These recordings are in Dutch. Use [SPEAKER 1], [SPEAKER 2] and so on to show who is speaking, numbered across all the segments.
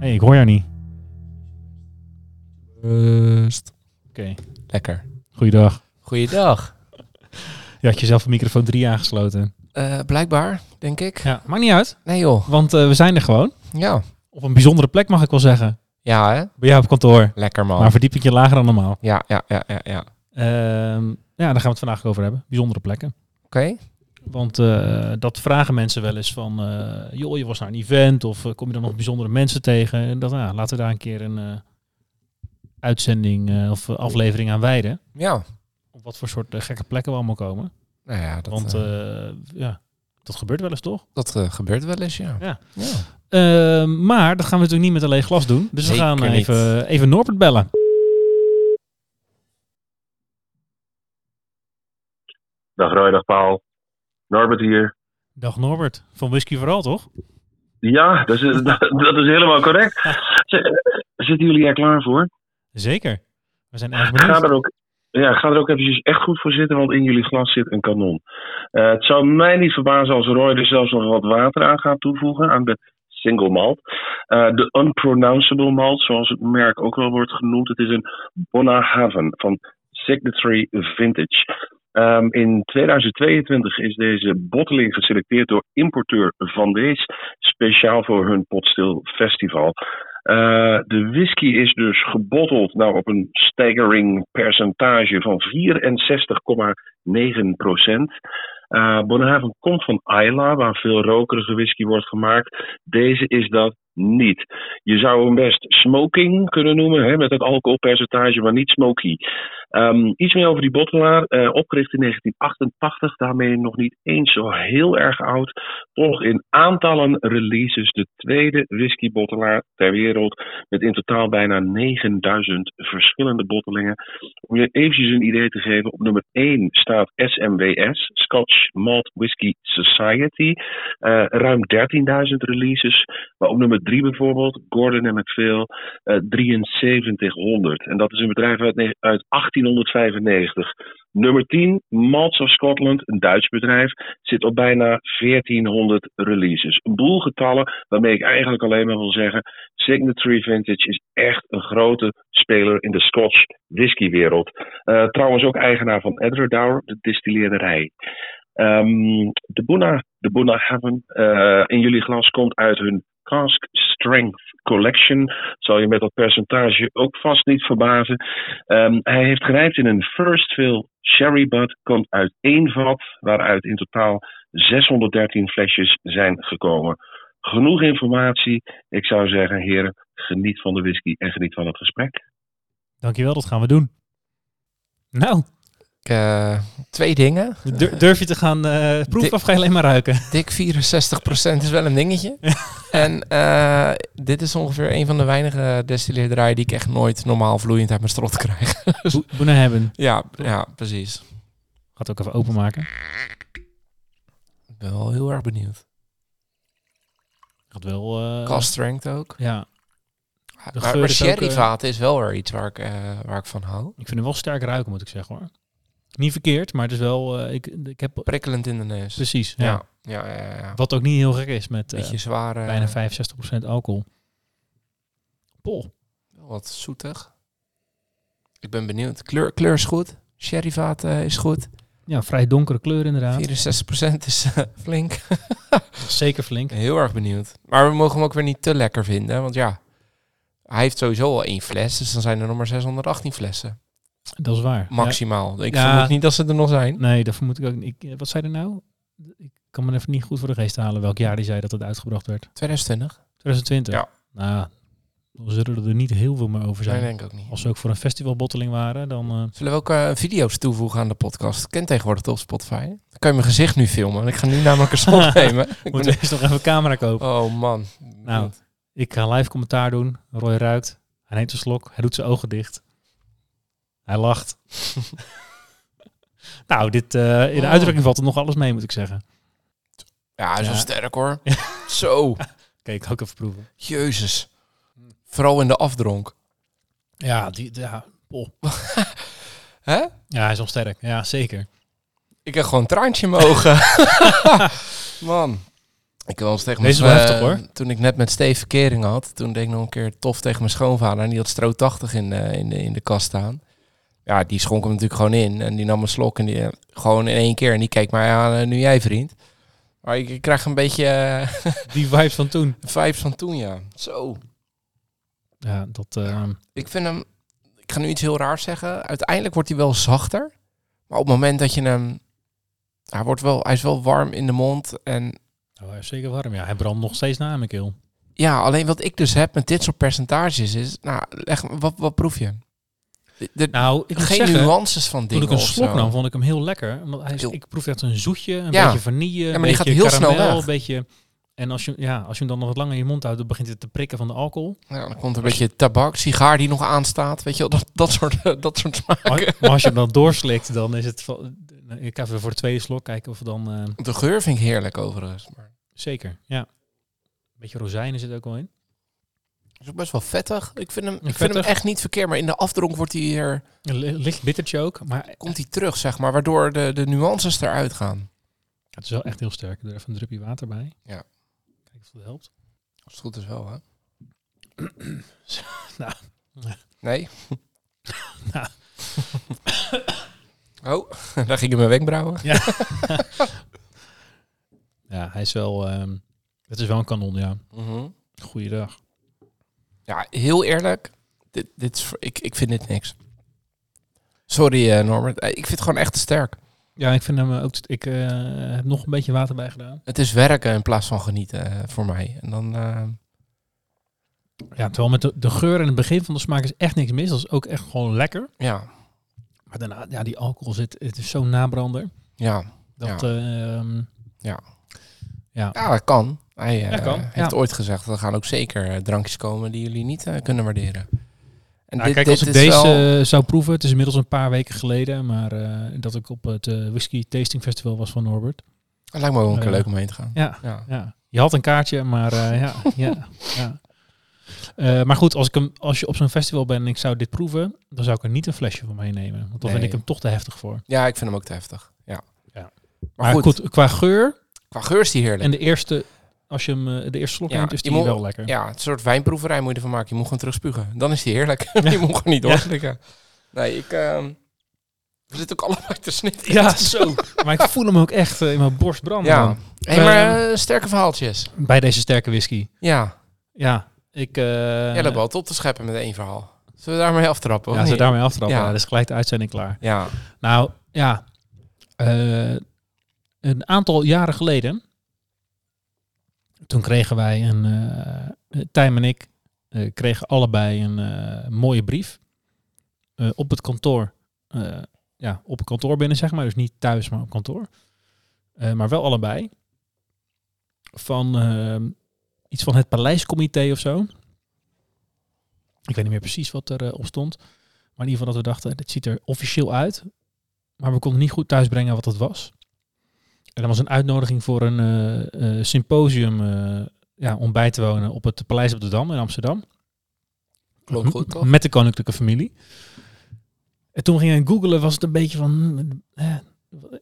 [SPEAKER 1] hey, ik hoor jou niet.
[SPEAKER 2] Rust.
[SPEAKER 1] Oké,
[SPEAKER 2] Lekker.
[SPEAKER 1] goeiedag.
[SPEAKER 2] Goeiedag.
[SPEAKER 1] Je had jezelf een microfoon 3 aangesloten.
[SPEAKER 2] Eh, blijkbaar, denk ik.
[SPEAKER 1] Ja, maakt niet uit,
[SPEAKER 2] Nee joh.
[SPEAKER 1] want eh, we zijn er gewoon.
[SPEAKER 2] Ja.
[SPEAKER 1] Op een bijzondere plek mag ik wel zeggen.
[SPEAKER 2] Ja hè?
[SPEAKER 1] Bij jou op kantoor.
[SPEAKER 2] Lekker man.
[SPEAKER 1] Maar verdieping je lager dan normaal.
[SPEAKER 2] Ja, ja, ja, ja, ja. Oké.
[SPEAKER 1] Ehm, ja, daar gaan we het vandaag over hebben. Bijzondere plekken. Want eh, dat vragen mensen wel eens van, eh, joh, je was naar een event of eh, kom je dan nog bijzondere mensen tegen? En dat, nou, laten we daar een keer een eh, uitzending eh, of eh, aflevering aan wijden.
[SPEAKER 2] Ja.
[SPEAKER 1] Op wat voor soort eh, gekke plekken we allemaal komen.
[SPEAKER 2] Nou ja, dat,
[SPEAKER 1] Want
[SPEAKER 2] eh,
[SPEAKER 1] eh, ja, dat gebeurt wel eens toch?
[SPEAKER 2] dat eh, gebeurt wel eens, ja.
[SPEAKER 1] Ja.
[SPEAKER 2] ja.
[SPEAKER 1] Eh, maar dat gaan we natuurlijk niet met een leeg glas doen. Dus we
[SPEAKER 2] Zeker
[SPEAKER 1] gaan
[SPEAKER 2] niet.
[SPEAKER 1] even, even Norbert bellen.
[SPEAKER 3] Dag Roy, dag Paul. Norbert hier.
[SPEAKER 1] Dag Norbert, van Whisky vooral toch?
[SPEAKER 3] Ja, dat is, dat, dat is helemaal correct. Z- Zitten jullie er klaar voor?
[SPEAKER 1] Zeker. We zijn erg benieuwd.
[SPEAKER 3] Ga er, ook, ja, ga er ook eventjes echt goed voor zitten, want in jullie glas zit een kanon. Eh, het zou mij niet verbazen als Roy er zelfs nog wat water aan gaat toevoegen aan de single malt. Eh, de unpronounceable malt, zoals het merk ook wel wordt genoemd. Het is een Bonahaven van Signatory Vintage. Ehm, in 2022 is deze botteling geselecteerd door importeur Van Dees, speciaal voor hun Potstil Festival. Eh, de whisky is dus gebotteld nou, op een staggering percentage van 64,9 procent. Bonahaven komt van Isla, waar veel rokerige whisky wordt gemaakt. Deze is dat niet. Je zou hem best smoking kunnen noemen, hè, met het alcoholpercentage, maar niet smoky. Ehm, iets meer over die bottelaar. eh, opgericht in 1988, daarmee nog niet eens zo heel erg oud toch in aantallen releases de tweede whiskybottelaar ter wereld. Met in totaal bijna 9000 verschillende bottelingen. Om je eventjes een idee te geven, op nummer 1 staat SMWS, Scotch Malt Whisky Society. eh, ruim 13.000 releases. Maar op nummer 3 bijvoorbeeld, Gordon en MacPhail, eh 7300. En dat is een bedrijf uit, ne- uit 1895. Nummer 10, Malts of Scotland, een Duits bedrijf zit op bijna 1400 releases. Een boel getallen waarmee ik eigenlijk alleen maar wil zeggen: Signatory Vintage is echt een grote speler in de Scotch whiskywereld. Eh, trouwens ook eigenaar van Edradour, de distilleerderij. Ehm, de Buna, de Buna Haven eh, in jullie glas komt uit hun Cask Strength Collection. Zal je met dat percentage ook vast niet verbazen. Ehm, hij heeft gerijpt in een First Fill Sherry Bud. Komt uit één vat, waaruit in totaal 613 flesjes zijn gekomen. Genoeg informatie. Ik zou zeggen, heren, geniet van de whisky en geniet van het gesprek.
[SPEAKER 1] Dankjewel, dat gaan we doen. Nou,
[SPEAKER 2] Ik, eh, twee dingen.
[SPEAKER 1] dur- durf je te gaan eh proeven
[SPEAKER 2] Dik-
[SPEAKER 1] of ga je alleen maar ruiken?
[SPEAKER 2] Dik 64% is wel een dingetje. en eh, dit is ongeveer een van de weinige destilleerderijen die ik echt nooit normaal vloeiend uit mijn strot krijg.
[SPEAKER 1] Boenen hebben.
[SPEAKER 2] ja, ja, precies.
[SPEAKER 1] Gaat ook even openmaken.
[SPEAKER 2] Ik ben wel heel erg benieuwd.
[SPEAKER 1] Gaat wel... eh,
[SPEAKER 2] Cast strength ook.
[SPEAKER 1] Ja,
[SPEAKER 2] Maar,
[SPEAKER 1] de
[SPEAKER 2] maar
[SPEAKER 1] geur is ook, eh,
[SPEAKER 2] sherryvaten is wel weer iets waar ik, eh, waar ik van hou.
[SPEAKER 1] ik vind hem wel sterk ruiken, moet ik zeggen hoor. Niet verkeerd, maar het is wel... eh, ik, ik heb...
[SPEAKER 2] Prikkelend in de neus.
[SPEAKER 1] Precies, ja.
[SPEAKER 2] ja. Ja, ja, ja, ja.
[SPEAKER 1] Wat ook niet heel gek is met eh,
[SPEAKER 2] Beetje zware,
[SPEAKER 1] bijna 65% alcohol. Pol.
[SPEAKER 2] wat zoetig. Ik ben benieuwd. Kleur, kleur is goed. Sherryvaten eh, is goed. 64%
[SPEAKER 1] Ja, vrij donkere kleur inderdaad.
[SPEAKER 2] is eh, flink.
[SPEAKER 1] Zeker flink.
[SPEAKER 2] Heel erg benieuwd. Maar we mogen hem ook weer niet te lekker vinden. Want ja, hij heeft sowieso al één fles. Dus dan zijn er nog maar 618 flessen.
[SPEAKER 1] Dat is waar. Ja.
[SPEAKER 2] Maximaal. Ik
[SPEAKER 1] Ja.
[SPEAKER 2] vermoed niet dat ze er nog zijn.
[SPEAKER 1] Nee, dat vermoed ik ook niet. Ik, eh, wat zei er nou? Ik kan me even niet goed voor de geest halen welk jaar die zei dat het uitgebracht werd.
[SPEAKER 2] 2020?
[SPEAKER 1] 2020?
[SPEAKER 2] Ja.
[SPEAKER 1] Nou, dan zullen er niet heel veel meer over
[SPEAKER 2] Nee,
[SPEAKER 1] zijn.
[SPEAKER 2] denk ik ook niet.
[SPEAKER 1] Als ze ook voor een festivalbotteling waren, dan... eh,
[SPEAKER 2] Zullen we ook eh, video's toevoegen aan de podcast? Ik ken tegenwoordig toch Spotify. Dan kan je mijn gezicht nu filmen. want Ik ga nu namelijk een spot nemen. Ik ben-
[SPEAKER 1] Oh. moeten we eerst nog even een camera kopen.
[SPEAKER 2] Oh man.
[SPEAKER 1] Nou, Ik ga live commentaar doen. Roy ruikt. Hij neemt een slok. Hij doet zijn ogen dicht. Hij lacht. nou, dit, eh, in de
[SPEAKER 2] Oh.
[SPEAKER 1] uitdrukking valt er nog alles mee, moet ik zeggen.
[SPEAKER 2] Ja, hij is wel
[SPEAKER 1] Ja.
[SPEAKER 2] sterk hoor.
[SPEAKER 1] Ja.
[SPEAKER 2] Zo,
[SPEAKER 1] Kijk, ik ga ook even proeven.
[SPEAKER 2] jezus. Vooral in de afdronk.
[SPEAKER 1] Ja, die, ja, oh.
[SPEAKER 2] Hè?
[SPEAKER 1] ja, hij is nog sterk. Ja, zeker.
[SPEAKER 2] Ik heb gewoon een traantje in mijn ogen. Man. Ik heb wel eens tegen
[SPEAKER 1] Deze is
[SPEAKER 2] mijn-
[SPEAKER 1] wel
[SPEAKER 2] eh,
[SPEAKER 1] heftig, hoor.
[SPEAKER 2] Toen ik net met Steve verkering had, toen deed ik nog een keer tof tegen mijn schoonvader. En die had stro 80 in, de- in, de, in de kast staan. Ja, die schonk hem natuurlijk gewoon in. En die nam een slok en die eh, gewoon in één keer. En die keek mij aan, eh, nu jij vriend. Maar ik, ik krijg een beetje eh,
[SPEAKER 1] Die vibes van toen.
[SPEAKER 2] vibes van toen, ja. Zo.
[SPEAKER 1] Ja, dat... eh,
[SPEAKER 2] Ik vind hem, ik ga nu iets heel raars zeggen. Uiteindelijk wordt hij wel zachter. Maar op het moment dat je hem, hij, wordt wel, hij is wel warm in de mond. En
[SPEAKER 1] Oh, hij is zeker warm. Ja, hij brandt nog steeds na mijn keel.
[SPEAKER 2] ja, alleen wat ik dus heb met dit soort percentages is, nou, leg, wat, wat proef je? De, de-
[SPEAKER 1] Nou, ik moet
[SPEAKER 2] geen
[SPEAKER 1] zeggen,
[SPEAKER 2] nuances van
[SPEAKER 1] toen
[SPEAKER 2] dingen
[SPEAKER 1] ik een
[SPEAKER 2] of
[SPEAKER 1] slok nou
[SPEAKER 2] zo.
[SPEAKER 1] nam, vond ik hem heel lekker. Omdat hij, is-
[SPEAKER 2] Heel-
[SPEAKER 1] ik proef echt een zoetje, een
[SPEAKER 2] Ja.
[SPEAKER 1] beetje vanille, een
[SPEAKER 2] maar die gaat
[SPEAKER 1] beetje
[SPEAKER 2] heel snel
[SPEAKER 1] karamel,
[SPEAKER 2] weg.
[SPEAKER 1] een beetje... En als je, ja, als je hem dan nog wat langer in je mond houdt, dan begint het te prikken van de alcohol.
[SPEAKER 2] Ja, dan komt er een beetje tabak, sigaar die nog aanstaat. Weet je wel, dat, dat soort, dat soort smaken.
[SPEAKER 1] Maar, maar als je hem dan doorslikt, dan is het... van- Ik ga even voor de tweede slok kijken of we dan... eh,
[SPEAKER 2] De geur vind ik heerlijk overigens. Maar
[SPEAKER 1] zeker, ja. Een beetje rozijnen zit ook wel in.
[SPEAKER 2] het is ook best wel vettig. Ik vind hem, ik vind hem
[SPEAKER 1] Vettig.
[SPEAKER 2] echt niet verkeerd, maar in de afdronk wordt hij hier...
[SPEAKER 1] Een li- licht bittertje ook, maar
[SPEAKER 2] komt hij terug, zeg maar, waardoor de, de nuances eruit gaan.
[SPEAKER 1] het is wel echt heel sterk. Ik doe er even een drupje water bij.
[SPEAKER 2] Ja.
[SPEAKER 1] Kijken of dat helpt.
[SPEAKER 2] Als het goed is wel, hè?
[SPEAKER 1] Nou.
[SPEAKER 2] Nee?
[SPEAKER 1] Nou.
[SPEAKER 2] oh, daar gingen mijn wenkbrauwen.
[SPEAKER 1] Ja, hij is wel... ehm, het is wel een kanon, ja. Goeiedag.
[SPEAKER 2] Ja, heel eerlijk, dit, dit is, voor- ik, ik vind dit niks. Sorry, eh, Norbert. Eh, Ik vind het gewoon echt te sterk.
[SPEAKER 1] Ja, ik vind hem eh, ook. Ik eh, heb nog een beetje water bij gedaan.
[SPEAKER 2] Het is werken in plaats van genieten eh, voor mij. En dan, eh,
[SPEAKER 1] Ja, terwijl met de, de geur en het begin van de smaak is echt niks mis. Dat is ook echt gewoon lekker.
[SPEAKER 2] ja,
[SPEAKER 1] Maar daarna, ja, die alcohol zit. Het is zo'n nabrander.
[SPEAKER 2] ja.
[SPEAKER 1] Dat.
[SPEAKER 2] Ja.
[SPEAKER 1] eh, ehm,
[SPEAKER 2] Ja.
[SPEAKER 1] Ja.
[SPEAKER 2] ja, dat kan. Hij eh,
[SPEAKER 1] Dat kan,
[SPEAKER 2] heeft
[SPEAKER 1] ja.
[SPEAKER 2] ooit gezegd, er gaan ook zeker eh, drankjes komen die jullie niet eh, kunnen waarderen. En
[SPEAKER 1] Nou, kijk, als ik
[SPEAKER 2] is
[SPEAKER 1] deze
[SPEAKER 2] wel-
[SPEAKER 1] eh, zou proeven, het is inmiddels een paar weken geleden, maar eh, dat ik op het eh, Whisky Tasting Festival was van Norbert.
[SPEAKER 2] Het lijkt me wel een keer
[SPEAKER 1] Eh,
[SPEAKER 2] leuk om heen te gaan.
[SPEAKER 1] Ja,
[SPEAKER 2] Ja.
[SPEAKER 1] ja. Je had een kaartje, maar eh, ja, ja, ja. Eh, maar goed, als, ik hem, als je op zo'n festival bent en ik zou dit proeven, dan zou ik er niet een flesje van meenemen. Want dan vind
[SPEAKER 2] Nee.
[SPEAKER 1] ik hem toch te heftig voor.
[SPEAKER 2] ja, ik vind hem ook te heftig. Ja.
[SPEAKER 1] Ja.
[SPEAKER 2] Maar, goed,
[SPEAKER 1] qua geur
[SPEAKER 2] qua geur is die heerlijk.
[SPEAKER 1] en de eerste, als je hem eh, de eerste slok
[SPEAKER 2] Ja,
[SPEAKER 1] neemt, is
[SPEAKER 2] je
[SPEAKER 1] die
[SPEAKER 2] moet-
[SPEAKER 1] wel lekker.
[SPEAKER 2] Ja, het soort wijnproeverij moet je ervan maken. Je moet gewoon terugspugen. Dan is die heerlijk. je moet gewoon niet
[SPEAKER 1] Ja.
[SPEAKER 2] doorslikken. Nee, ik... ehm we zitten ook allebei te snitten.
[SPEAKER 1] Ja, zo. maar ik voel hem ook echt eh, in mijn borst branden.
[SPEAKER 2] Ja.
[SPEAKER 1] man.
[SPEAKER 2] Hey, maar
[SPEAKER 1] Ehm,
[SPEAKER 2] eh, sterke verhaaltjes.
[SPEAKER 1] Bij deze sterke whisky.
[SPEAKER 2] Ja,
[SPEAKER 1] Ja, ik... eh
[SPEAKER 2] Jelle uh, op te scheppen met één verhaal. Zullen we daarmee aftrappen? of
[SPEAKER 1] Ja, ze
[SPEAKER 2] niet?
[SPEAKER 1] daarmee aftrappen.
[SPEAKER 2] Ja.
[SPEAKER 1] Ja. Dus gelijk de uitzending klaar.
[SPEAKER 2] Ja.
[SPEAKER 1] Nou, ja. eh, een aantal jaren geleden, toen kregen wij een... eh Tijm en ik eh, kregen allebei een eh, mooie brief eh, op het kantoor. eh, ja, op het kantoor binnen, zeg maar. Dus niet thuis, maar op kantoor. Eh, maar wel allebei. Van ehm, iets van het paleiscomité of zo. Ik weet niet meer precies wat er eh, op stond. Maar in ieder geval dat we dachten, dit ziet er officieel uit. Maar we konden niet goed thuisbrengen wat het was. En er was een uitnodiging voor een eh, eh, symposium eh, ja, om bij te wonen op het Paleis op de Dam in Amsterdam.
[SPEAKER 2] Klopt
[SPEAKER 1] Mhm.
[SPEAKER 2] goed, toch?
[SPEAKER 1] Met de koninklijke familie. En toen ging ik googelen, was het een beetje van... hmm, eh,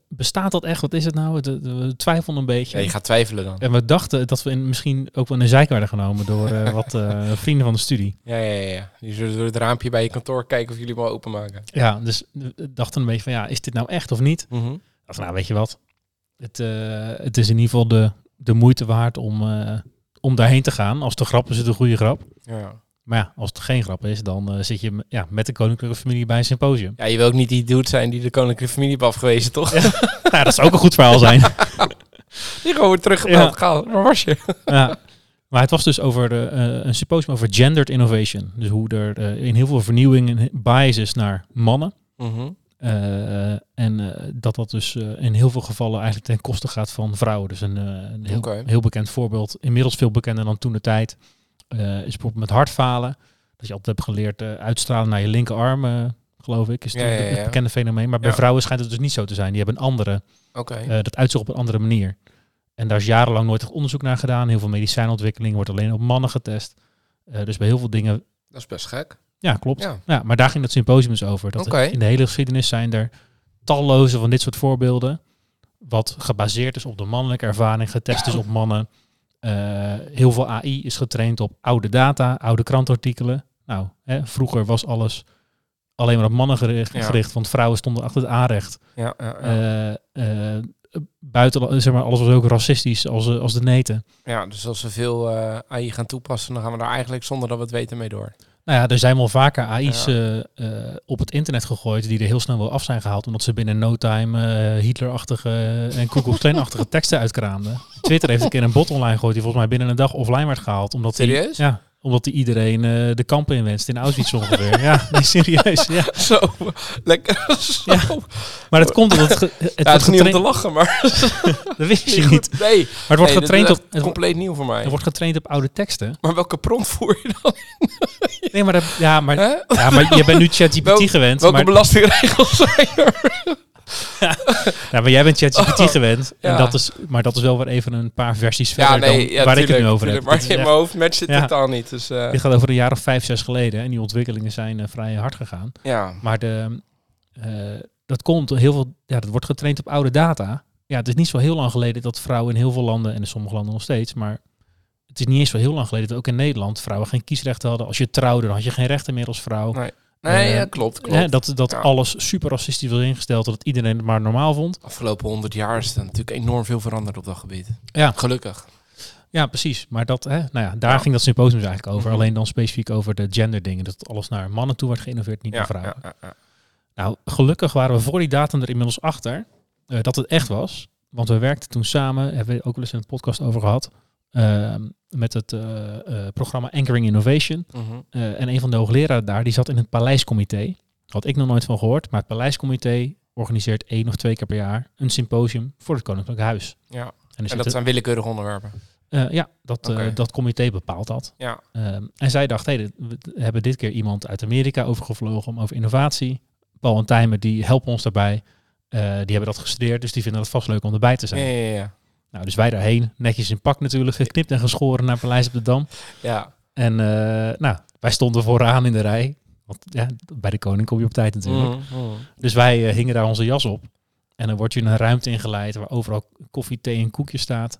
[SPEAKER 1] bestaat dat echt? Wat is het nou? Het- het- We twijfelden een beetje.
[SPEAKER 2] Ja, je gaat twijfelen dan.
[SPEAKER 1] En we dachten dat we in, misschien ook wel in de zeik werden genomen door eh, wat eh, vrienden van de studie.
[SPEAKER 2] Ja, ja, ja, ja. Die zullen door het raampje bij je kantoor kijken of jullie hem al openmaken.
[SPEAKER 1] Ja, dus we dachten een beetje van ja, is dit nou echt of niet? Dacht, nou, weet je wat? Het, eh, het is in ieder geval de, de moeite waard om, eh, om daarheen te gaan. Als de grap is het een goede grap.
[SPEAKER 2] Ja.
[SPEAKER 1] Maar ja, als het geen grap is, dan eh, zit je m- ja, met de koninklijke familie bij een symposium.
[SPEAKER 2] Ja, je wil ook niet die dude zijn die de koninklijke familie heeft afgewezen, toch?
[SPEAKER 1] nou, dat zou ook een goed verhaal zijn.
[SPEAKER 2] Die gewoon wordt teruggebeld. Ga, waar was je?
[SPEAKER 1] ja. Maar het was dus over eh, eh, een symposium over gendered innovation. Dus hoe er eh, in heel veel vernieuwing een bias is naar mannen.
[SPEAKER 2] Mhm.
[SPEAKER 1] Eh, en eh, dat dat dus eh, in heel veel gevallen eigenlijk ten koste gaat van vrouwen. Dus een, eh, een heel,
[SPEAKER 2] Oké.
[SPEAKER 1] heel bekend voorbeeld, inmiddels veel bekender dan toen de tijd, eh, is bijvoorbeeld met hartfalen. Dat je altijd hebt geleerd eh, uitstralen naar je linkerarm, eh, geloof ik. Is
[SPEAKER 2] Ja,
[SPEAKER 1] natuurlijk
[SPEAKER 2] ja,
[SPEAKER 1] het
[SPEAKER 2] ja.
[SPEAKER 1] bekende fenomeen. Maar bij
[SPEAKER 2] Ja.
[SPEAKER 1] vrouwen schijnt het dus niet zo te zijn. Die hebben een andere
[SPEAKER 2] Oké.
[SPEAKER 1] eh, dat uitzicht op een andere manier. En daar is jarenlang nooit echt onderzoek naar gedaan. Heel veel medicijnontwikkeling wordt alleen op mannen getest. Eh, dus bij heel veel dingen,
[SPEAKER 2] Dat is best gek.
[SPEAKER 1] ja, klopt.
[SPEAKER 2] Ja.
[SPEAKER 1] Ja. maar daar ging dat symposium dus over. Dat er-
[SPEAKER 2] Oké.
[SPEAKER 1] In de hele geschiedenis zijn er talloze van dit soort voorbeelden. Wat gebaseerd is op de mannelijke ervaring, getest is op mannen. Eh, heel veel AI is getraind op oude data, oude krantartikelen. Nou, hè, vroeger was alles alleen maar op mannen gericht,
[SPEAKER 2] Ja.
[SPEAKER 1] gericht want vrouwen stonden achter het aanrecht.
[SPEAKER 2] Ja, ja, ja.
[SPEAKER 1] Eh, eh, buiten, zeg maar, alles was ook racistisch als, eh, als de neten.
[SPEAKER 2] Ja, dus als we veel eh, AI gaan toepassen, dan gaan we daar eigenlijk zonder dat we het weten mee door.
[SPEAKER 1] Nou ja, er zijn wel vaker AI's eh, eh, op het internet gegooid die er heel snel wel af zijn gehaald. Omdat ze binnen no time eh, Hitler-achtige eh, en Ku Klux Klan-achtige teksten uitkraamden. Twitter heeft een keer een bot online gegooid die volgens mij binnen een dag offline werd gehaald. Omdat die-
[SPEAKER 2] Serieus?
[SPEAKER 1] ja, omdat die iedereen eh, de kampen inwenst in Auschwitz ongeveer. ja, die is serieus. Ja.
[SPEAKER 2] Zo, lekker. Zo.
[SPEAKER 1] Ja, Maar dat komt omdat het, ge- het,
[SPEAKER 2] Oh. Ja, het
[SPEAKER 1] wordt
[SPEAKER 2] is niet om
[SPEAKER 1] getraind...
[SPEAKER 2] te lachen, maar
[SPEAKER 1] Dat wist je
[SPEAKER 2] niet
[SPEAKER 1] niet.
[SPEAKER 2] goed. Nee,
[SPEAKER 1] Maar het wordt
[SPEAKER 2] Nee, dit
[SPEAKER 1] getraind
[SPEAKER 2] is
[SPEAKER 1] op...
[SPEAKER 2] echt
[SPEAKER 1] Het, wo-
[SPEAKER 2] compleet nieuw voor mij.
[SPEAKER 1] het wordt getraind op oude teksten.
[SPEAKER 2] Maar welke prompt voer je dan?
[SPEAKER 1] Nee, maar, dat, ja, maar
[SPEAKER 2] Hè?
[SPEAKER 1] Ja, maar je bent nu ChatGPT
[SPEAKER 2] Welk-
[SPEAKER 1] gewend.
[SPEAKER 2] Welke
[SPEAKER 1] Maar,
[SPEAKER 2] belastingregels zijn er?
[SPEAKER 1] ja, maar jij bent ChatGPT
[SPEAKER 2] Oh,
[SPEAKER 1] gewend. En
[SPEAKER 2] ja.
[SPEAKER 1] dat is, maar dat is wel weer even een paar versies verder dan waar ik het nu
[SPEAKER 2] tuurlijk,
[SPEAKER 1] over heb.
[SPEAKER 2] tuurlijk,
[SPEAKER 1] Dit
[SPEAKER 2] Maar
[SPEAKER 1] is
[SPEAKER 2] in mijn
[SPEAKER 1] echt-
[SPEAKER 2] hoofd matcht het
[SPEAKER 1] Ja.
[SPEAKER 2] totaal niet. Dus eh,
[SPEAKER 1] dit gaat over een jaar of vijf, zes geleden. En die ontwikkelingen zijn eh, vrij hard gegaan.
[SPEAKER 2] ja.
[SPEAKER 1] Maar de, eh, dat komt door heel veel. Ja, dat wordt getraind op oude data. Ja, het is niet zo heel lang geleden dat vrouwen in heel veel landen, en in sommige landen nog steeds, maar het is niet eens zo heel lang geleden dat ook in Nederland vrouwen geen kiesrechten hadden. Als je trouwde, dan had je geen rechten meer als vrouw.
[SPEAKER 2] Nee,
[SPEAKER 1] eh,
[SPEAKER 2] ja, klopt, klopt.
[SPEAKER 1] Hè, dat dat
[SPEAKER 2] Ja.
[SPEAKER 1] alles super racistisch was ingesteld, dat iedereen het maar normaal vond.
[SPEAKER 2] Afgelopen honderd jaar is er natuurlijk enorm veel veranderd op dat gebied.
[SPEAKER 1] Ja.
[SPEAKER 2] Gelukkig.
[SPEAKER 1] Ja, precies. Maar dat, hè, nou ja, daar
[SPEAKER 2] Ja.
[SPEAKER 1] ging dat symposium dus eigenlijk over.
[SPEAKER 2] Mhm.
[SPEAKER 1] Alleen dan specifiek over de genderdingen. Dat alles naar mannen toe werd geïnnoveerd, niet naar vrouwen.
[SPEAKER 2] ja, ja.
[SPEAKER 1] Nou, gelukkig waren we voor die datum er inmiddels achter eh, dat het echt was. Want we werkten toen samen, hebben we ook wel eens in een podcast over gehad, eh, met het eh, eh, programma Anchoring Innovation.
[SPEAKER 2] Mhm.
[SPEAKER 1] Eh, en een van de hoogleraren daar, die zat in het Paleiscomité. Had ik nog nooit van gehoord, maar het Paleiscomité organiseert één of twee keer per jaar een symposium voor het Koninklijk Huis.
[SPEAKER 2] Ja.
[SPEAKER 1] En, er
[SPEAKER 2] En
[SPEAKER 1] zitten-
[SPEAKER 2] dat zijn willekeurige onderwerpen.
[SPEAKER 1] eh, ja, dat, eh,
[SPEAKER 2] Oké.
[SPEAKER 1] dat comité bepaalt dat.
[SPEAKER 2] Ja.
[SPEAKER 1] Ehm, en zij dacht, hey, dit- we t- hebben dit keer iemand uit Amerika overgevlogen om over innovatie. Paul en Tijmen, die helpen ons daarbij. Eh, die hebben dat gestudeerd, dus die vinden het vast leuk om erbij te
[SPEAKER 2] Ja,
[SPEAKER 1] zijn.
[SPEAKER 2] ja, ja.
[SPEAKER 1] Nou, dus wij daarheen, netjes in pak natuurlijk, geknipt en geschoren naar Paleis op de Dam.
[SPEAKER 2] ja.
[SPEAKER 1] En eh, nou, wij stonden vooraan in de rij. Want ja, bij de koning kom je op tijd natuurlijk.
[SPEAKER 2] Mhm, mhm.
[SPEAKER 1] Dus wij eh, hingen daar onze jas op. En dan word je in een ruimte ingeleid waar overal koffie, thee en koekjes staat.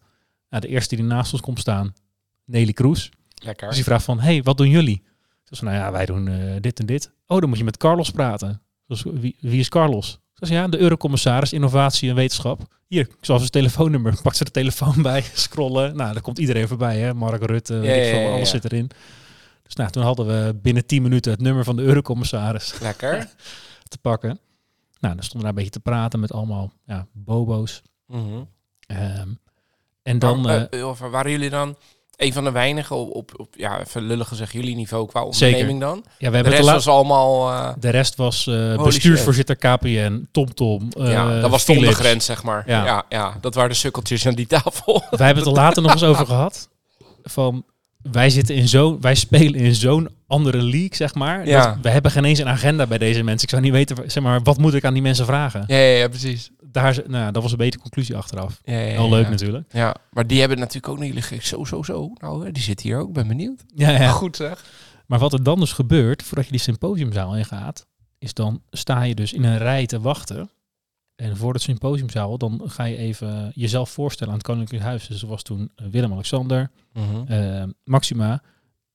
[SPEAKER 1] Nou, de eerste die naast ons komt staan, Nelly Kroes. Dus
[SPEAKER 2] Lekker.
[SPEAKER 1] die vraagt van, hey, wat doen jullie? Ze zei, nou ja, wij doen eh, dit en dit. Oh, dan moet je met Carlos praten. Dus wie, wie is Carlos? Ze zei, ja, de eurocommissaris Innovatie en Wetenschap. Hier, zoals zijn telefoonnummer. Pakt ze de telefoon bij, scrollen. Nou, daar komt iedereen voorbij, hè. Mark Rutte, weet ik
[SPEAKER 2] ja,
[SPEAKER 1] veel,
[SPEAKER 2] ja,
[SPEAKER 1] alles
[SPEAKER 2] ja.
[SPEAKER 1] zit erin. Dus nou, toen hadden we binnen 10 minuten het nummer van de eurocommissaris
[SPEAKER 2] Lekker.
[SPEAKER 1] te pakken. Nou, dan stonden we daar een beetje te praten met allemaal ja, bobo's.
[SPEAKER 2] Mhm.
[SPEAKER 1] Ehm, en dan...
[SPEAKER 2] Maar,
[SPEAKER 1] eh,
[SPEAKER 2] eh, of waren jullie dan een van de weinigen op, op, op ja, even lullig gezegd, jullie niveau qua
[SPEAKER 1] Zeker.
[SPEAKER 2] onderneming dan?
[SPEAKER 1] ja, we
[SPEAKER 2] De
[SPEAKER 1] hebben het
[SPEAKER 2] rest
[SPEAKER 1] de la-
[SPEAKER 2] was allemaal... eh,
[SPEAKER 1] De rest was eh,
[SPEAKER 2] Holy
[SPEAKER 1] bestuursvoorzitter KPN, TomTom. Tom. eh,
[SPEAKER 2] ja, dat was toch
[SPEAKER 1] Philips.
[SPEAKER 2] de grens, zeg maar. Ja.
[SPEAKER 1] Ja.
[SPEAKER 2] Ja, dat waren de sukkeltjes aan die tafel.
[SPEAKER 1] Wij hebben het er later nog eens over gehad. Van wij, zitten in zo'n, wij spelen in zo'n andere league, zeg maar.
[SPEAKER 2] Ja.
[SPEAKER 1] Dat, we hebben geen eens een agenda bij deze mensen. Ik zou niet weten, wa- zeg maar, wat moet ik aan die mensen vragen?
[SPEAKER 2] Ja, ja, ja, precies.
[SPEAKER 1] Daar, ze- nou, ja, dat was een betere conclusie achteraf.
[SPEAKER 2] Ja, ja, ja,
[SPEAKER 1] Heel leuk
[SPEAKER 2] ja.
[SPEAKER 1] natuurlijk.
[SPEAKER 2] Ja, maar die hebben natuurlijk ook niet liggen. Zo, zo, zo. Nou, hè, die zit hier ook. Ben benieuwd.
[SPEAKER 1] Ja, ja.
[SPEAKER 2] Goed zeg.
[SPEAKER 1] Maar wat er dan dus gebeurt, voordat je die symposiumzaal ingaat, is dan sta je dus in een rij te wachten. En voor het symposiumzaal, dan ga je even jezelf voorstellen aan het Koninklijk Huis. Dus er was toen eh, Willem-Alexander, eh, Maxima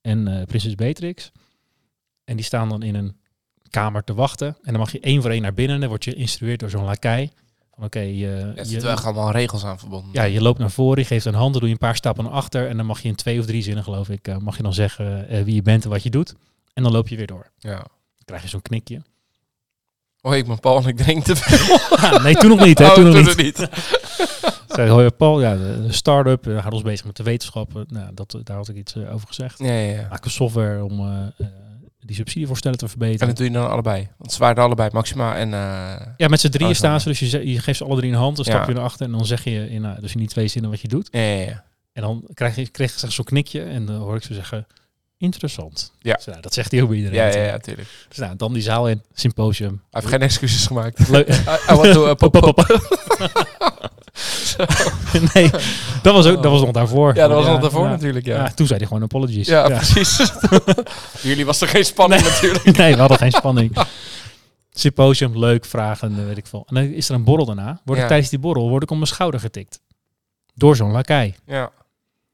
[SPEAKER 1] en eh, prinses Beatrix. En die staan dan in een kamer te wachten. En dan mag je één voor één naar binnen. Dan word je geïnstrueerd door zo'n lakai. Van oké, eh,
[SPEAKER 2] Er
[SPEAKER 1] je,
[SPEAKER 2] zitten wel echt allemaal regels aan verbonden.
[SPEAKER 1] ja, je loopt naar voren, je geeft een hand, dan doe je een paar stappen naar achter. En dan mag je in twee of drie zinnen, geloof ik, eh, mag je dan zeggen eh, wie je bent en wat je doet. En dan loop je weer door.
[SPEAKER 2] ja.
[SPEAKER 1] Dan krijg je zo'n knikje.
[SPEAKER 2] Oh, ik ben Paul en ik drink te veel.
[SPEAKER 1] Ah, nee, toen nog niet, hè?
[SPEAKER 2] Oh,
[SPEAKER 1] Toen nog niet.
[SPEAKER 2] het niet.
[SPEAKER 1] Zei, hoor je Paul, ja, de de start-up, eh, houdt ons bezig met de wetenschappen. Nou, dat, eh, daar had ik iets eh, over gezegd.
[SPEAKER 2] Ja, ja, ja.
[SPEAKER 1] Maken software om eh, eh, die subsidievoorstellen te
[SPEAKER 2] En
[SPEAKER 1] verbeteren.
[SPEAKER 2] dat doe je dan allebei. Want ze waren allebei, Maxima en... eh,
[SPEAKER 1] Ja, met z'n drieën
[SPEAKER 2] Oh, zo.
[SPEAKER 1] staan ze, dus je, ze- je geeft ze alle drie een hand, dan
[SPEAKER 2] Ja.
[SPEAKER 1] stap je naar achter en dan zeg je in, eh, dus in die twee zinnen wat je doet.
[SPEAKER 2] Ja, ja, ja.
[SPEAKER 1] En dan krijg je, kreeg ze zo'n knikje en dan hoor ik ze zeggen, interessant.
[SPEAKER 2] Ja.
[SPEAKER 1] Dus, nou, dat zegt hij ook bij iedereen.
[SPEAKER 2] Ja, ja, ja, tuurlijk. Hij
[SPEAKER 1] Dus nou, dan die zaal in, symposium.
[SPEAKER 2] heeft geen excuses gemaakt.
[SPEAKER 1] Leuk.
[SPEAKER 2] I- I want to, uh, pop,
[SPEAKER 1] Pop,
[SPEAKER 2] pop.
[SPEAKER 1] pop, pop. nee, dat was, ook, dat was nog daarvoor.
[SPEAKER 2] Ja, dat was al daarvoor
[SPEAKER 1] ja.
[SPEAKER 2] natuurlijk, ja.
[SPEAKER 1] Ja, toen zei hij gewoon apologies.
[SPEAKER 2] Ja,
[SPEAKER 1] Ja.
[SPEAKER 2] precies. Voor Jullie was er geen spanning natuurlijk.
[SPEAKER 1] nee, we hadden geen spanning. Symposium, leuk, vragen, eh, weet ik veel. En dan is er een borrel daarna. Word ik
[SPEAKER 2] Ja.
[SPEAKER 1] tijdens die borrel word ik om mijn schouder getikt. Door zo'n lakai.
[SPEAKER 2] Ja.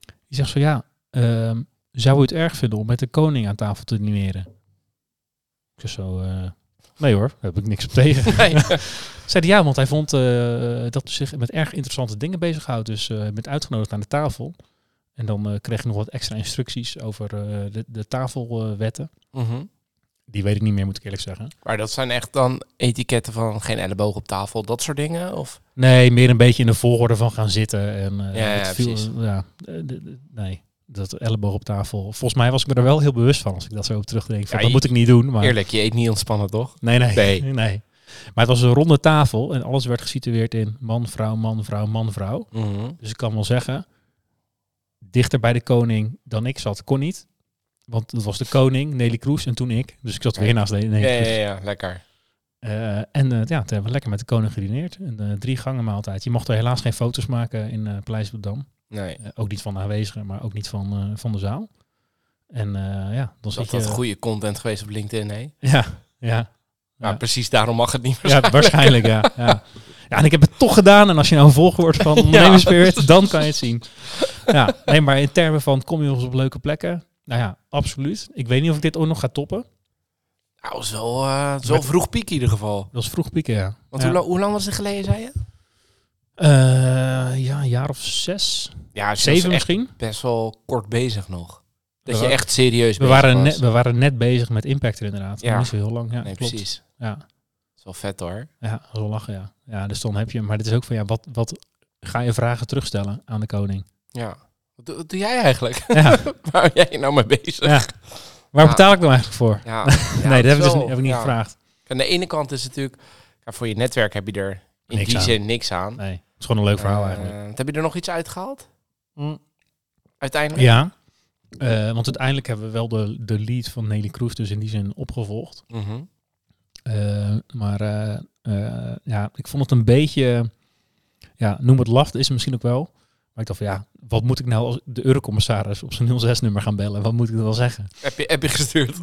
[SPEAKER 1] Die zegt zo, ja, ehm, zou u het erg vinden om met de koning aan tafel te dineren? Ik zeg zo, eh, nee hoor, daar heb ik niks op tegen.
[SPEAKER 2] Nee.
[SPEAKER 1] Zei hij ja, want hij vond eh, dat u zich met erg interessante dingen bezighoudt. Dus eh je bent uitgenodigd aan de tafel. En dan eh, kreeg je nog wat extra instructies over eh, de, de tafelwetten.
[SPEAKER 2] Mhm.
[SPEAKER 1] Die weet ik niet meer, moet ik eerlijk zeggen.
[SPEAKER 2] Maar dat zijn echt dan etiketten van geen elleboog op tafel, dat soort dingen? Of?
[SPEAKER 1] Nee, meer een beetje in de volgorde van gaan zitten. En, eh,
[SPEAKER 2] Ja,
[SPEAKER 1] het
[SPEAKER 2] ja,
[SPEAKER 1] viel-
[SPEAKER 2] precies.
[SPEAKER 1] ja, eh, d- d- nee, dat elleboog op tafel. Volgens mij was ik me er wel heel bewust van als ik dat zo op terugdenk. Van,
[SPEAKER 2] Ja,
[SPEAKER 1] dat
[SPEAKER 2] je-
[SPEAKER 1] moet ik niet doen. Maar
[SPEAKER 2] Eerlijk, je eet niet ontspannen, toch?
[SPEAKER 1] nee, nee,
[SPEAKER 2] Nee.
[SPEAKER 1] nee, nee. Maar het was een ronde tafel en alles werd gesitueerd in man, vrouw, man, vrouw, man, vrouw.
[SPEAKER 2] Mhm.
[SPEAKER 1] Dus ik kan wel zeggen, dichter bij de koning dan ik zat, kon niet. Want dat was de koning, Nelly Kroes en toen ik. Dus ik zat weer naast de Nelly
[SPEAKER 2] Ja,
[SPEAKER 1] Kroes.
[SPEAKER 2] ja, ja, lekker.
[SPEAKER 1] Eh, en eh, ja, toen hebben we lekker met de koning gedineerd. Een eh, drie gangen maaltijd. Je mocht er helaas geen foto's maken in eh Paleis op de Dam.
[SPEAKER 2] Nee,
[SPEAKER 1] Eh, ook niet van de aanwezigen, maar ook niet van, eh, van de zaal. En eh, ja, dan
[SPEAKER 2] dat
[SPEAKER 1] zat
[SPEAKER 2] had
[SPEAKER 1] je...
[SPEAKER 2] goede content geweest op LinkedIn, hè?
[SPEAKER 1] Ja, ja.
[SPEAKER 2] Maar
[SPEAKER 1] Ja.
[SPEAKER 2] precies daarom mag het niet meer.
[SPEAKER 1] Ja, waarschijnlijk, ja, ja. Ja, en ik heb het toch gedaan. En als je nou een volger wordt van ondernemersspirit, dan kan je het zien. Ja, nee, maar in termen van kom je nog eens op leuke plekken? Nou ja, absoluut. Ik weet niet of ik dit ooit nog ga toppen.
[SPEAKER 2] Nou, dat is wel, eh, dat is wel vroeg piek in ieder geval.
[SPEAKER 1] Dat is vroeg pieken, ja.
[SPEAKER 2] Want
[SPEAKER 1] ja.
[SPEAKER 2] hoe, lang- hoe lang was het geleden, zei je?
[SPEAKER 1] Eh, ja, een jaar of zes,
[SPEAKER 2] Ja, ze was
[SPEAKER 1] zeven
[SPEAKER 2] echt
[SPEAKER 1] misschien.
[SPEAKER 2] best wel kort bezig nog. Dat
[SPEAKER 1] We
[SPEAKER 2] je
[SPEAKER 1] wa-
[SPEAKER 2] echt serieus
[SPEAKER 1] We
[SPEAKER 2] bezig
[SPEAKER 1] waren,
[SPEAKER 2] was.
[SPEAKER 1] net, we waren net bezig met Impact er inderdaad.
[SPEAKER 2] Ja.
[SPEAKER 1] Ja. Niet zo heel lang, ja,
[SPEAKER 2] nee,
[SPEAKER 1] klopt.
[SPEAKER 2] precies.
[SPEAKER 1] Ja.
[SPEAKER 2] Dat is wel vet hoor.
[SPEAKER 1] Ja, zo lachen, ja. Ja, dus dan heb je... Maar dit is ook van, ja, wat, wat ga je vragen terugstellen aan de koning?
[SPEAKER 2] Ja. Wat, doe- wat doe jij eigenlijk?
[SPEAKER 1] Ja,
[SPEAKER 2] Waar ben jij nou mee bezig?
[SPEAKER 1] ja. Waar
[SPEAKER 2] Ja.
[SPEAKER 1] betaal ik nou eigenlijk voor?
[SPEAKER 2] Ja.
[SPEAKER 1] nee, dat heb ik dus
[SPEAKER 2] zo.
[SPEAKER 1] niet- heb ik niet
[SPEAKER 2] Ja.
[SPEAKER 1] gevraagd.
[SPEAKER 2] Aan de ene kant is het natuurlijk... ja, voor je netwerk heb je er in
[SPEAKER 1] Niks
[SPEAKER 2] die
[SPEAKER 1] aan.
[SPEAKER 2] zin niks aan.
[SPEAKER 1] Nee, het is gewoon een leuk verhaal
[SPEAKER 2] Eh,
[SPEAKER 1] eigenlijk.
[SPEAKER 2] want heb je er nog iets uitgehaald? Hm.
[SPEAKER 1] Mm.
[SPEAKER 2] Uiteindelijk?
[SPEAKER 1] Ja, eh, want uiteindelijk hebben we wel de, de lead van Nelly Kroes dus in die zin opgevolgd.
[SPEAKER 2] Mhm.
[SPEAKER 1] Eh, maar eh, eh, ja, ik vond het een beetje... Ja, noem het laf, is het misschien ook wel. Maar ik dacht van, ja, wat moet ik nou als de eurocommissaris op zijn 06-nummer gaan bellen? Wat moet ik dan wel zeggen?
[SPEAKER 2] Heb, je, heb je gestuurd?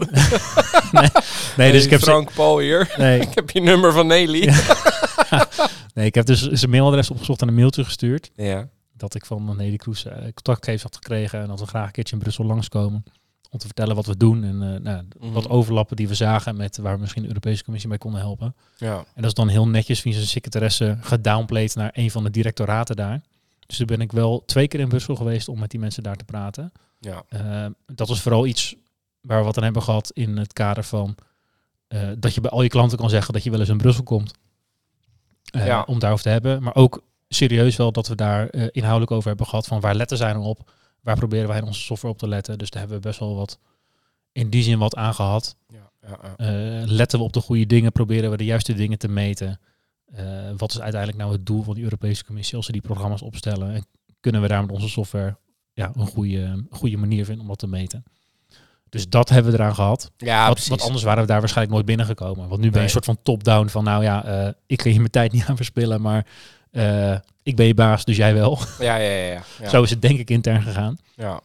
[SPEAKER 1] Nee, dus ik heb... ze-
[SPEAKER 2] Frank Paul hier.
[SPEAKER 1] Nee,
[SPEAKER 2] ik heb je nummer van Nelly. Ja.
[SPEAKER 1] Nee, ik heb dus zijn mailadres opgezocht en een mailtje gestuurd. Dat ik van Nelly Kroes eh, contactgegevens had gekregen. En dat we graag een keertje in Brussel langskomen. Om te vertellen wat we doen. En eh, nou,
[SPEAKER 2] Mhm.
[SPEAKER 1] wat overlappen die we zagen met waar we misschien de Europese Commissie bij konden helpen.
[SPEAKER 2] Ja.
[SPEAKER 1] En dat is dan heel netjes via zijn secretaresse gedownplayed naar een van de directoraten daar. Dus toen ben ik wel twee keer in Brussel geweest om met die mensen daar te praten.
[SPEAKER 2] Ja.
[SPEAKER 1] Eh, dat was vooral iets waar we wat aan hebben gehad in het kader van eh, dat je bij al je klanten kan zeggen dat je wel eens in Brussel komt. Eh,
[SPEAKER 2] Ja.
[SPEAKER 1] Om daarover te hebben. Maar ook serieus wel dat we daar eh, inhoudelijk over hebben gehad van waar letten zij dan op? Waar proberen wij in onze software op te letten? Dus daar hebben we best wel wat in die zin wat aan gehad.
[SPEAKER 2] Ja. Ja. ja.
[SPEAKER 1] Eh, letten we op de goede dingen? Proberen we de juiste dingen te meten? Eh, wat is uiteindelijk nou het doel van die Europese Commissie als ze die programma's opstellen? En kunnen we daar met onze software ja, een goede, goede manier vinden om dat te meten? Dus dat hebben we eraan gehad.
[SPEAKER 2] Ja,
[SPEAKER 1] Wat-
[SPEAKER 2] Ah, precies.
[SPEAKER 1] want anders waren we daar waarschijnlijk nooit binnengekomen. Want nu ben je
[SPEAKER 2] Nee.
[SPEAKER 1] een soort van top-down van, nou ja, eh, ik ga hier mijn tijd niet aan verspillen, maar eh, ik ben je baas, dus jij wel.
[SPEAKER 2] Ja, ja, ja. ja. ja.
[SPEAKER 1] Zo is het denk ik intern gegaan.
[SPEAKER 2] Ja.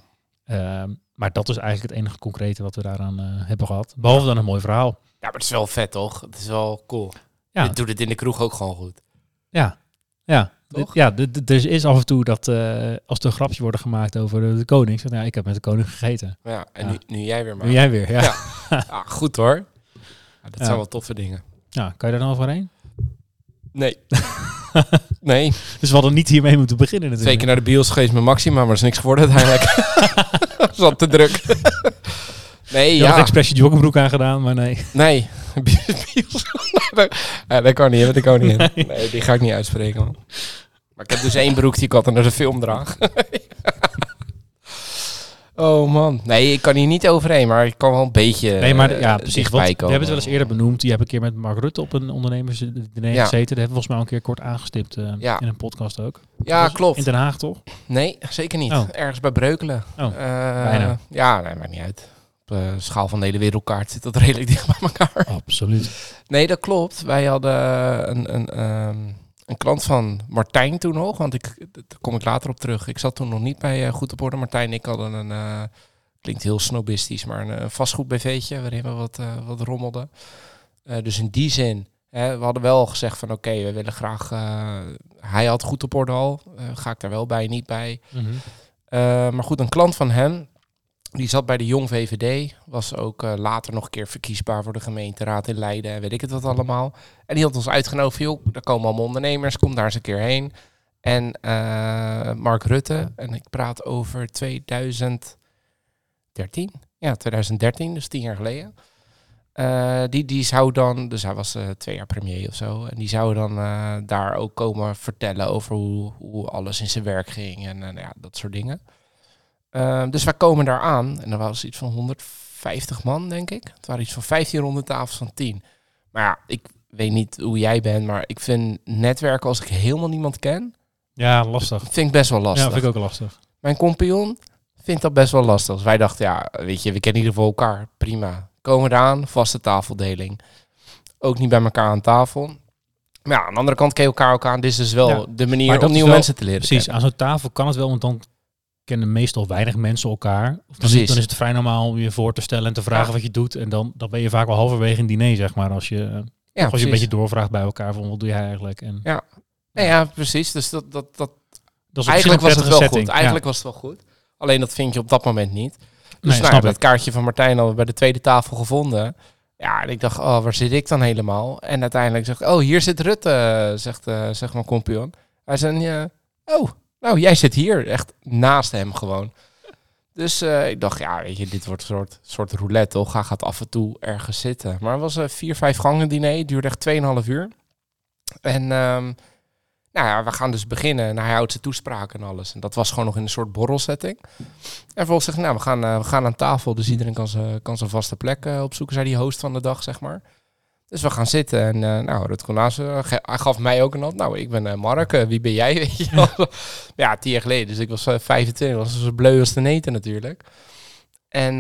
[SPEAKER 1] Ehm, maar dat is eigenlijk het enige concrete wat we daaraan eh, hebben gehad. Behalve dan een mooi verhaal.
[SPEAKER 2] Ja, maar het is wel vet, toch? Het is wel cool.
[SPEAKER 1] Ja.
[SPEAKER 2] Je doet het in de kroeg ook gewoon goed.
[SPEAKER 1] Ja, ja.
[SPEAKER 2] Toch?
[SPEAKER 1] Dit- ja, dit- dit- er is af en toe dat eh, als er grapjes worden gemaakt over de, de koning, ik zeg, nou, ik heb met de koning gegeten.
[SPEAKER 2] Ja, en
[SPEAKER 1] Ja.
[SPEAKER 2] Nu, nu jij weer maar.
[SPEAKER 1] Nu jij weer, ja.
[SPEAKER 2] Ja.
[SPEAKER 1] ja.
[SPEAKER 2] Ah, goed hoor. Ja, dat
[SPEAKER 1] Ja.
[SPEAKER 2] zijn wel toffe dingen.
[SPEAKER 1] kan je daar dan overheen?
[SPEAKER 2] Nee. nee.
[SPEAKER 1] Dus we hadden niet hiermee moeten beginnen
[SPEAKER 2] Twee
[SPEAKER 1] natuurlijk.
[SPEAKER 2] keer naar de bios geweest met Maxima, maar er is niks geworden uiteindelijk. Zat te druk. nee,
[SPEAKER 1] Je had
[SPEAKER 2] ja. Eh,
[SPEAKER 1] expres je joggingbroek aangedaan, maar nee.
[SPEAKER 2] Nee. bios. ja, dat kan niet, hè, dat kan niet. Nee. die ga ik niet uitspreken, man. Maar ik heb dus één broek die ik altijd naar de film draag. oh man. Nee, ik kan hier niet overheen, maar ik kan wel een beetje
[SPEAKER 1] Nee, maar
[SPEAKER 2] eh,
[SPEAKER 1] ja, precies.
[SPEAKER 2] dichtbij
[SPEAKER 1] Want we hebben het wel eens
[SPEAKER 2] komen.
[SPEAKER 1] eerder benoemd. Die heb ik een keer met Mark Rutte op een ondernemersdiner
[SPEAKER 2] Ja.
[SPEAKER 1] gezeten. Dat hebben we volgens mij al een keer kort aangestipt eh,
[SPEAKER 2] Ja.
[SPEAKER 1] in een podcast ook.
[SPEAKER 2] Ja,
[SPEAKER 1] Was
[SPEAKER 2] klopt.
[SPEAKER 1] In Den Haag toch?
[SPEAKER 2] Nee, zeker niet.
[SPEAKER 1] Oh.
[SPEAKER 2] Ergens bij Breukelen.
[SPEAKER 1] Oh,
[SPEAKER 2] Eh,
[SPEAKER 1] bijna.
[SPEAKER 2] Ja, nee, maakt niet uit. op uh, schaal van de hele wereldkaart zit dat redelijk dicht bij elkaar.
[SPEAKER 1] Absoluut.
[SPEAKER 2] Nee, dat klopt. Wij hadden een, een, um, een klant van Martijn toen nog, want ik, daar kom ik later op terug. Ik zat toen nog niet bij uh, Goed op Orde. Martijn en ik hadden een, uh, klinkt heel snobistisch, maar een, een vastgoed BV'tje waarin we wat, eh, wat rommelden. dus in die zin, hè, we hadden wel gezegd van oké, okay, we willen graag... eh, hij had Goed op Orde al, Eh, ga ik daar wel bij, niet bij. Mm
[SPEAKER 1] Mhm.
[SPEAKER 2] -hmm. maar goed, een klant van hem, die zat bij de Jong VVD, was ook uh, later nog een keer verkiesbaar voor de gemeenteraad in Leiden en weet ik het wat allemaal. En die had ons uitgenodigd van, joh, daar komen allemaal ondernemers, kom daar eens een keer heen. En uh, Mark Rutte, en ik praat over 2013, ja 2013, dus tien jaar geleden. Uh, die, die zou dan, dus hij was twee jaar premier of zo, en die zou dan eh, daar ook komen vertellen over hoe, hoe alles in zijn werk ging en eh, nou ja, dat soort dingen. Uh, dus wij komen daar aan en er was iets van 150 man, denk ik. Het waren iets van 1500 tafels van 10. Maar ja, ik weet niet hoe jij bent, maar ik vind netwerken als ik helemaal niemand ken.
[SPEAKER 1] Ja, lastig.
[SPEAKER 2] Vind ik best wel lastig.
[SPEAKER 1] Ja, vind ik ook lastig.
[SPEAKER 2] Mijn compagnon vindt dat best wel lastig. Dus wij dachten, ja, weet je, we kennen in ieder geval elkaar. Prima. Komen eraan, vaste tafeldeling. Ook niet bij elkaar aan tafel. Maar ja, aan de andere kant ken je elkaar ook aan. Dit is dus wel ja, de manier om nieuwe wel, mensen te leren
[SPEAKER 1] Precies,
[SPEAKER 2] kennen.
[SPEAKER 1] aan zo'n tafel kan het wel, want dan kennen meestal weinig mensen elkaar. Of dan, niet, dan, is het vrij normaal om je voor te stellen en te vragen ja. wat je doet. En dan, dan ben je vaak wel halverwege in diner, zeg maar. Als je, ja, als precies. je een beetje doorvraagt bij elkaar van wat doe je eigenlijk. En,
[SPEAKER 2] ja. Nee, ja, precies. Dus dat, dat, dat, dat eigenlijk was het wel setting. goed. Eigenlijk ja. was het wel goed. Alleen dat vind je op dat moment niet. Dus nee, nou, dat kaartje van Martijn hadden we bij de tweede tafel gevonden. Ja, en ik dacht, oh, waar zit ik dan helemaal? En uiteindelijk zegt, oh, hier zit Rutte, zegt, uh, zeg maar compagnon. Hij zei, uh, oh, nou, jij zit hier echt naast hem gewoon. Dus uh, ik dacht, ja, weet je, dit wordt een soort, soort roulette, toch? Hij gaat af en toe ergens zitten. Maar het was een vier, vijf gangen diner. duurde echt 2,5 uur. En um, nou ja, we gaan dus beginnen. En hij houdt zijn toespraak en alles. En dat was gewoon nog in een soort borrelsetting. En vervolgens zegt nou, we gaan, uh, we gaan aan tafel. Dus iedereen kan zijn, kan zijn vaste plek uh, opzoeken, zei die host van de dag, zeg maar. Dus we gaan zitten en uh, nou, dat kon naast, uh, gaf mij ook een hand. Nou, ik ben uh, Mark, wie ben jij? Weet je wel? ja, tien jaar geleden, dus ik was 25, was zo bleu als de neten natuurlijk. En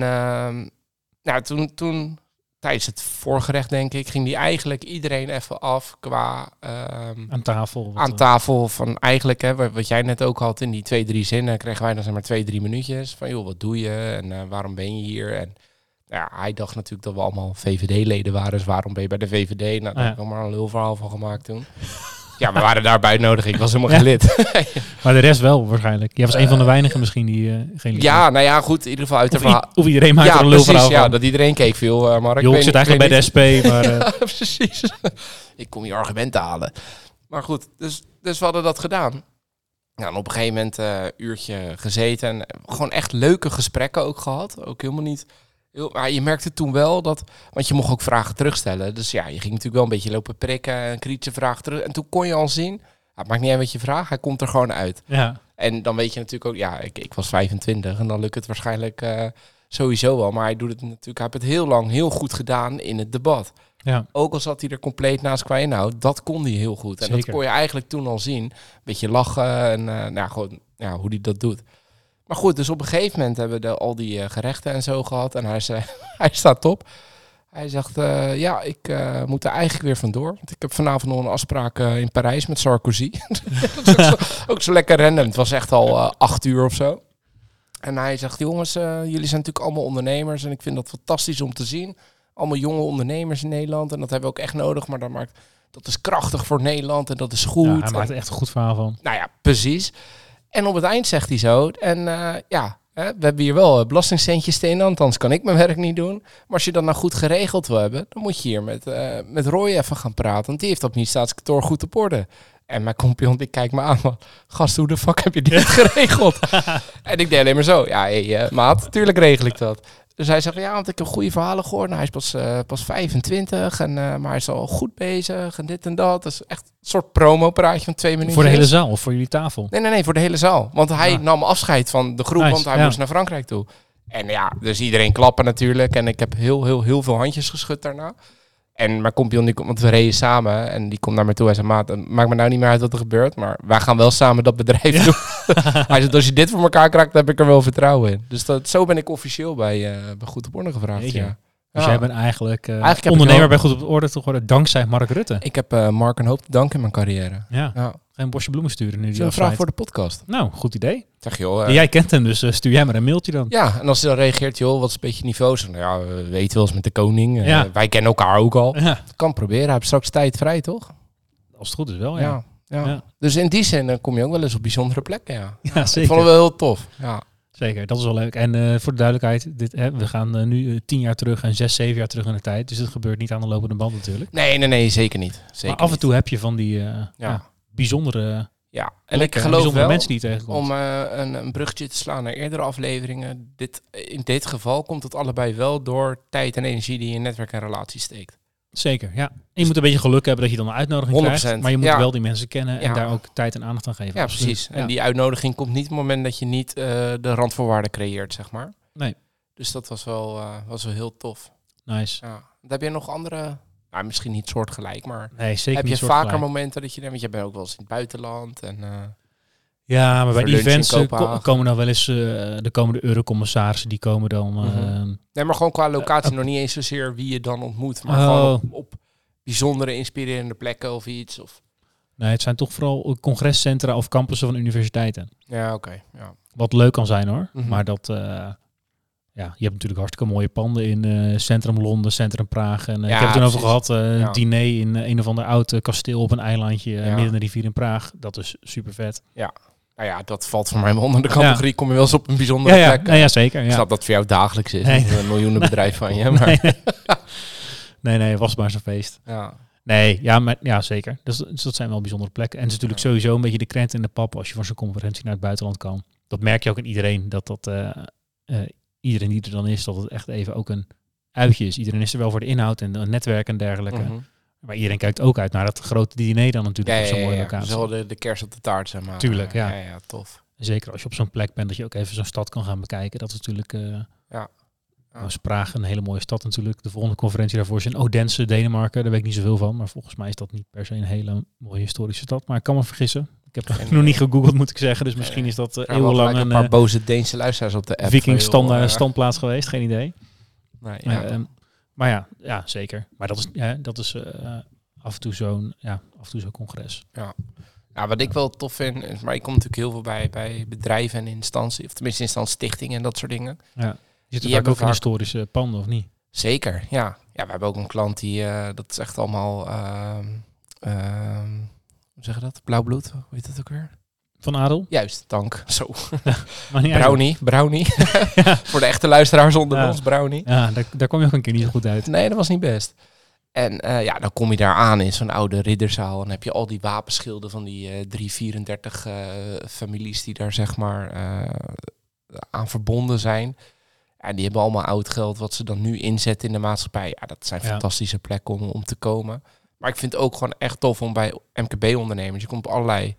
[SPEAKER 2] nou, toen, toen, tijdens het voorgerecht denk ik, ging die eigenlijk iedereen even af qua... ehm,
[SPEAKER 1] aan tafel. eh,
[SPEAKER 2] Aan tafel van eigenlijk, hè, wat jij net ook had in die twee, drie zinnen, kregen wij dan zeg maar twee, drie minuutjes. Van joh, wat doe je en eh, waarom ben je hier en nou ja, hij dacht natuurlijk dat we allemaal VVD-leden waren. Dus waarom ben je bij de VVD?
[SPEAKER 1] Ah,
[SPEAKER 2] Nou, daar heb ik maar een lulverhaal van gemaakt toen. ja, we waren daarbij nodig. Ik was helemaal geen lid.
[SPEAKER 1] maar de rest wel waarschijnlijk. Jij was uh, een van de weinigen misschien die uh, geen lid
[SPEAKER 2] Eh, Ja, had. nou ja, goed. In ieder geval uit
[SPEAKER 1] of, de of iedereen maakte
[SPEAKER 2] ja,
[SPEAKER 1] er een lulverhaal
[SPEAKER 2] precies,
[SPEAKER 1] van.
[SPEAKER 2] Ja, dat iedereen keek veel, uh, Mark.
[SPEAKER 1] Joh, ik zit eigenlijk bij de SP, maar... eh,
[SPEAKER 2] ja, precies. ik kom je argumenten halen. Maar goed, dus, dus we hadden dat gedaan. Nou, en op een gegeven moment een uurtje gezeten. En gewoon echt leuke gesprekken ook gehad. Ook helemaal niet... Maar je merkte toen wel dat, want je mocht ook vragen terugstellen. Dus ja, je ging natuurlijk wel een beetje lopen prikken en kritische vragen terug. En toen kon je al zien, het maakt niet uit wat je vraagt, hij komt er gewoon uit.
[SPEAKER 1] Ja.
[SPEAKER 2] En dan weet je natuurlijk ook, ja, ik, ik was 25 en dan lukt het waarschijnlijk uh, sowieso wel. Maar hij doet het natuurlijk, hij heeft het heel lang heel goed gedaan in het debat.
[SPEAKER 1] Ja.
[SPEAKER 2] Ook al zat hij er compleet naast qua inhoud, dat kon hij heel goed. En Zeker. dat kon je eigenlijk toen al zien. Een beetje lachen en uh, nou, gewoon, ja, hoe hij dat doet. Maar goed, dus op een gegeven moment hebben we de, al die uh, gerechten en zo gehad. En hij, zei, hij staat op. Hij zegt, uh, ja, ik uh, moet er eigenlijk weer vandoor. Want ik heb vanavond nog een afspraak eh, in Parijs met Sarkozy. dat is ook, zo, ook zo, lekker random. Het was echt al eh, acht uur of zo. En hij zegt, jongens, eh, jullie zijn natuurlijk allemaal ondernemers. En ik vind dat fantastisch om te zien. Allemaal jonge ondernemers in Nederland. En dat hebben we ook echt nodig. Maar dat maakt... Dat is krachtig voor Nederland en dat is goed. Ja,
[SPEAKER 1] hij maakt er echt een goed verhaal van.
[SPEAKER 2] Nou ja, precies. En op het eind zegt hij zo, en uh, ja, hè, we hebben hier wel eh, belastingcentjes tegen, anders kan ik mijn werk niet doen. Maar als je dat nou goed geregeld wil hebben, dan moet je hier met, uh, met Roy even gaan praten, want die heeft dat niet staatskantoor goed op orde. En mijn compagnon, die kijkt me aan, man. Gast, hoe de fuck heb je dit geregeld? en ik deed alleen maar zo. Ja, hey, uh, maat, tuurlijk regel ik dat. Dus hij zegt, ja, want ik heb goede verhalen gehoord. Nou, hij is pas, uh, pas 25, en, uh, maar hij is al goed bezig en dit en dat. Dus echt een soort promo-praatje van twee minuten.
[SPEAKER 1] Voor de hele zaal of voor jullie tafel?
[SPEAKER 2] Nee, nee, nee, voor de hele zaal. Want hij
[SPEAKER 1] Ah.
[SPEAKER 2] ja. nam afscheid van de groep, nice, want hij ja. moest naar Frankrijk toe. En ja, dus iedereen klappen natuurlijk. En ik heb heel, heel, heel veel handjes geschud daarna. En mijn compagnon, die komt, want we reden samen en die komt naar me toe. Hij zei, maat, het maakt me nou niet meer uit wat er gebeurt, maar wij gaan wel samen dat bedrijf doen. Hij zegt, als je dit voor elkaar krijgt, heb ik er wel vertrouwen in. Dus dat, zo ben ik officieel bij, eh bij Goed op Orde gevraagd,
[SPEAKER 1] Jeetje.
[SPEAKER 2] ja.
[SPEAKER 1] Dus
[SPEAKER 2] Ja.
[SPEAKER 1] jij bent eigenlijk, eh,
[SPEAKER 2] Eigenlijk heb ik
[SPEAKER 1] ondernemer
[SPEAKER 2] wel-
[SPEAKER 1] bij Goed op Orde te worden dankzij Mark Rutte.
[SPEAKER 2] Ik heb eh, Mark een hoop te danken in mijn carrière.
[SPEAKER 1] Ja,
[SPEAKER 2] Ja.
[SPEAKER 1] geen bosje bloemen sturen nu.
[SPEAKER 2] Is
[SPEAKER 1] Die
[SPEAKER 2] er een vraag
[SPEAKER 1] afsluit.
[SPEAKER 2] voor de podcast?
[SPEAKER 1] Nou, goed idee.
[SPEAKER 2] Ik Zeg joh, eh,
[SPEAKER 1] Jij kent hem, dus eh, stuur jij maar een mailtje dan.
[SPEAKER 2] Ja, en als hij dan reageert, joh, wat is een beetje het niveau? Zeg, nou ja, we weten wel eens met de koning. eh,
[SPEAKER 1] Ja.
[SPEAKER 2] wij kennen elkaar ook al.
[SPEAKER 1] Ja,
[SPEAKER 2] Kan proberen, hij heeft straks tijd vrij, toch?
[SPEAKER 1] als het goed is wel,
[SPEAKER 2] Ja.
[SPEAKER 1] Oh ja.
[SPEAKER 2] ja.
[SPEAKER 1] Ja.
[SPEAKER 2] Dus in die zin eh, kom je ook wel eens op bijzondere plekken, ja.
[SPEAKER 1] Ja,
[SPEAKER 2] Ik vond
[SPEAKER 1] zeker.
[SPEAKER 2] het wel heel tof. Ja,
[SPEAKER 1] Zeker, dat is wel leuk. En eh, voor de duidelijkheid, dit, hè, we gaan eh, nu eh, tien jaar terug en zes, zeven jaar terug in de tijd. Dus dat gebeurt niet aan de lopende band natuurlijk.
[SPEAKER 2] Nee, nee, nee, zeker niet. Zeker
[SPEAKER 1] maar af en toe heb je van die eh, ja, bijzondere,
[SPEAKER 2] Ja, en
[SPEAKER 1] plekken,
[SPEAKER 2] ik geloof
[SPEAKER 1] bijzondere
[SPEAKER 2] wel,
[SPEAKER 1] mensen die je tegenkomt.
[SPEAKER 2] om eh, een, een brugje te slaan naar eerdere afleveringen, dit, in dit geval komt het allebei wel door tijd en energie die je in netwerk en relatie steekt.
[SPEAKER 1] Zeker, ja. En je moet een beetje geluk hebben dat je dan een uitnodiging krijgt.
[SPEAKER 2] 100%,
[SPEAKER 1] Maar je moet
[SPEAKER 2] ja.
[SPEAKER 1] wel die mensen kennen en
[SPEAKER 2] Ja.
[SPEAKER 1] daar ook tijd en aandacht aan geven.
[SPEAKER 2] Ja,
[SPEAKER 1] Absoluut.
[SPEAKER 2] precies.
[SPEAKER 1] Ja.
[SPEAKER 2] En die uitnodiging komt niet op het moment dat je niet eh, de randvoorwaarden creëert, zeg maar.
[SPEAKER 1] Nee.
[SPEAKER 2] Dus dat was wel, eh, was wel heel tof.
[SPEAKER 1] Nice.
[SPEAKER 2] Ja. Want Heb je nog andere, nou, misschien niet soortgelijk, maar
[SPEAKER 1] Nee, zeker
[SPEAKER 2] heb je
[SPEAKER 1] niet
[SPEAKER 2] vaker
[SPEAKER 1] soortgelijk.
[SPEAKER 2] momenten dat je, want je bent ook wel eens in het buitenland en... eh,
[SPEAKER 1] Ja, maar bij
[SPEAKER 2] Voor lunch in
[SPEAKER 1] events eh, ko-
[SPEAKER 2] Kopenhagen.
[SPEAKER 1] komen dan wel eens eh, de komende eurocommissarissen. Die komen dan... eh, Oh.
[SPEAKER 2] Mhm. Nee, maar gewoon qua locatie nog niet eens zozeer wie je dan ontmoet, maar gewoon op, op bijzondere, inspirerende plekken of iets. Of...
[SPEAKER 1] nee, het zijn toch vooral congrescentra of campussen van universiteiten.
[SPEAKER 2] Ja, oké. Ja.
[SPEAKER 1] Wat leuk kan zijn hoor.
[SPEAKER 2] Mhm.
[SPEAKER 1] Maar dat... eh, ja, je hebt natuurlijk hartstikke mooie panden in eh, Centrum Londen, Centrum Praag. En eh,
[SPEAKER 2] Ja,
[SPEAKER 1] ik heb het er over
[SPEAKER 2] precies.
[SPEAKER 1] gehad, eh, een
[SPEAKER 2] Ja.
[SPEAKER 1] diner in eh, een of ander oud eh, kasteel op een eilandje eh,
[SPEAKER 2] Ja.
[SPEAKER 1] midden in de rivier in Praag. Dat is super vet.
[SPEAKER 2] Nou ja, dat valt voor mij wel onder de categorie. Kom je wel eens op een
[SPEAKER 1] Ja,
[SPEAKER 2] bijzondere
[SPEAKER 1] ja,
[SPEAKER 2] plek?
[SPEAKER 1] nou ja zeker.
[SPEAKER 2] Ik
[SPEAKER 1] Ja.
[SPEAKER 2] snap dat voor jou dagelijks is.
[SPEAKER 1] Nee.
[SPEAKER 2] want Een miljoenenbedrijf van je. Maar,
[SPEAKER 1] Nee, nee. nee, nee, was maar zo'n feest.
[SPEAKER 2] ja.
[SPEAKER 1] Nee, ja, maar, ja zeker. Dus, dus dat zijn wel bijzondere plekken. En het is natuurlijk sowieso een beetje de krent in de pap als je voor zo'n conferentie naar het buitenland kan. Dat merk je ook in iedereen, dat dat eh, eh, iedereen die er dan is, dat het echt even ook een uitje is. Iedereen is er wel voor de inhoud en het netwerk en dergelijke.
[SPEAKER 2] Mhm.
[SPEAKER 1] Maar iedereen kijkt ook uit naar dat grote diner dan
[SPEAKER 2] ja,
[SPEAKER 1] natuurlijk
[SPEAKER 2] ja,
[SPEAKER 1] op zo'n
[SPEAKER 2] ja,
[SPEAKER 1] mooie
[SPEAKER 2] ja. Dat is
[SPEAKER 1] locatie.
[SPEAKER 2] wel de, de kers op de taart, zeg maar.
[SPEAKER 1] Tuurlijk, ja.
[SPEAKER 2] Ja, ja, tof.
[SPEAKER 1] Zeker als je op zo'n plek bent, dat je ook even zo'n stad kan gaan bekijken. Dat is natuurlijk... eh, Nou, is Praag een hele mooie stad natuurlijk. De volgende conferentie daarvoor is in Odense, Denemarken. Daar weet ik niet zoveel van. Maar volgens mij is dat niet per se een hele mooie historische stad. Maar ik kan me vergissen. Ik heb
[SPEAKER 2] Geen
[SPEAKER 1] nog niet
[SPEAKER 2] idee.
[SPEAKER 1] gegoogeld, moet ik zeggen. Dus misschien
[SPEAKER 2] nee.
[SPEAKER 1] is dat eh,
[SPEAKER 2] Gaan we wel
[SPEAKER 1] eeuwenlang
[SPEAKER 2] gelijk
[SPEAKER 1] een
[SPEAKER 2] een paar
[SPEAKER 1] eh,
[SPEAKER 2] boze Deense luisteraars op de app.
[SPEAKER 1] viking
[SPEAKER 2] van, joh,
[SPEAKER 1] standa-
[SPEAKER 2] eh,
[SPEAKER 1] standplaats geweest. Geen idee.
[SPEAKER 2] nee,
[SPEAKER 1] Maar,
[SPEAKER 2] ja.
[SPEAKER 1] ehm, maar ja, ja, zeker. Maar dat is, ja, dat is eh, af en toe zo'n ja, af en toe zo'n congres.
[SPEAKER 2] Ja, wat ik wel tof vind, is- maar ik kom natuurlijk heel veel bij, bij bedrijven en instanties, of tenminste instanties, stichtingen en dat soort dingen.
[SPEAKER 1] Je zit
[SPEAKER 2] Die
[SPEAKER 1] er vaak
[SPEAKER 2] hebben
[SPEAKER 1] ook in
[SPEAKER 2] vaak-
[SPEAKER 1] historische panden, of niet?
[SPEAKER 2] Zeker, ja. Ja, we hebben ook een klant die, eh, dat is echt allemaal, ehm, ehm, hoe zeg je dat? Blauw bloed, hoe heet dat ook weer?
[SPEAKER 1] Van Adel?
[SPEAKER 2] Juist, dank. Zo,
[SPEAKER 1] Maar niet uit.
[SPEAKER 2] brownie, brownie. Voor de echte luisteraars onder
[SPEAKER 1] Ja.
[SPEAKER 2] ons, brownie.
[SPEAKER 1] Ja, daar, daar kwam je ook een keer niet zo goed uit.
[SPEAKER 2] Nee, dat was niet best. En eh, ja, dan kom je daar aan in zo'n oude ridderzaal. En dan heb je al die wapenschilden van die eh 334 eh, families die daar zeg maar eh, aan verbonden zijn. En die hebben allemaal oud geld wat ze dan nu inzetten in de maatschappij. Ja, dat zijn
[SPEAKER 1] Ja.
[SPEAKER 2] fantastische plekken om, om te komen. Maar ik vind het ook gewoon echt tof om bij MKB-ondernemers. Je komt op allerlei...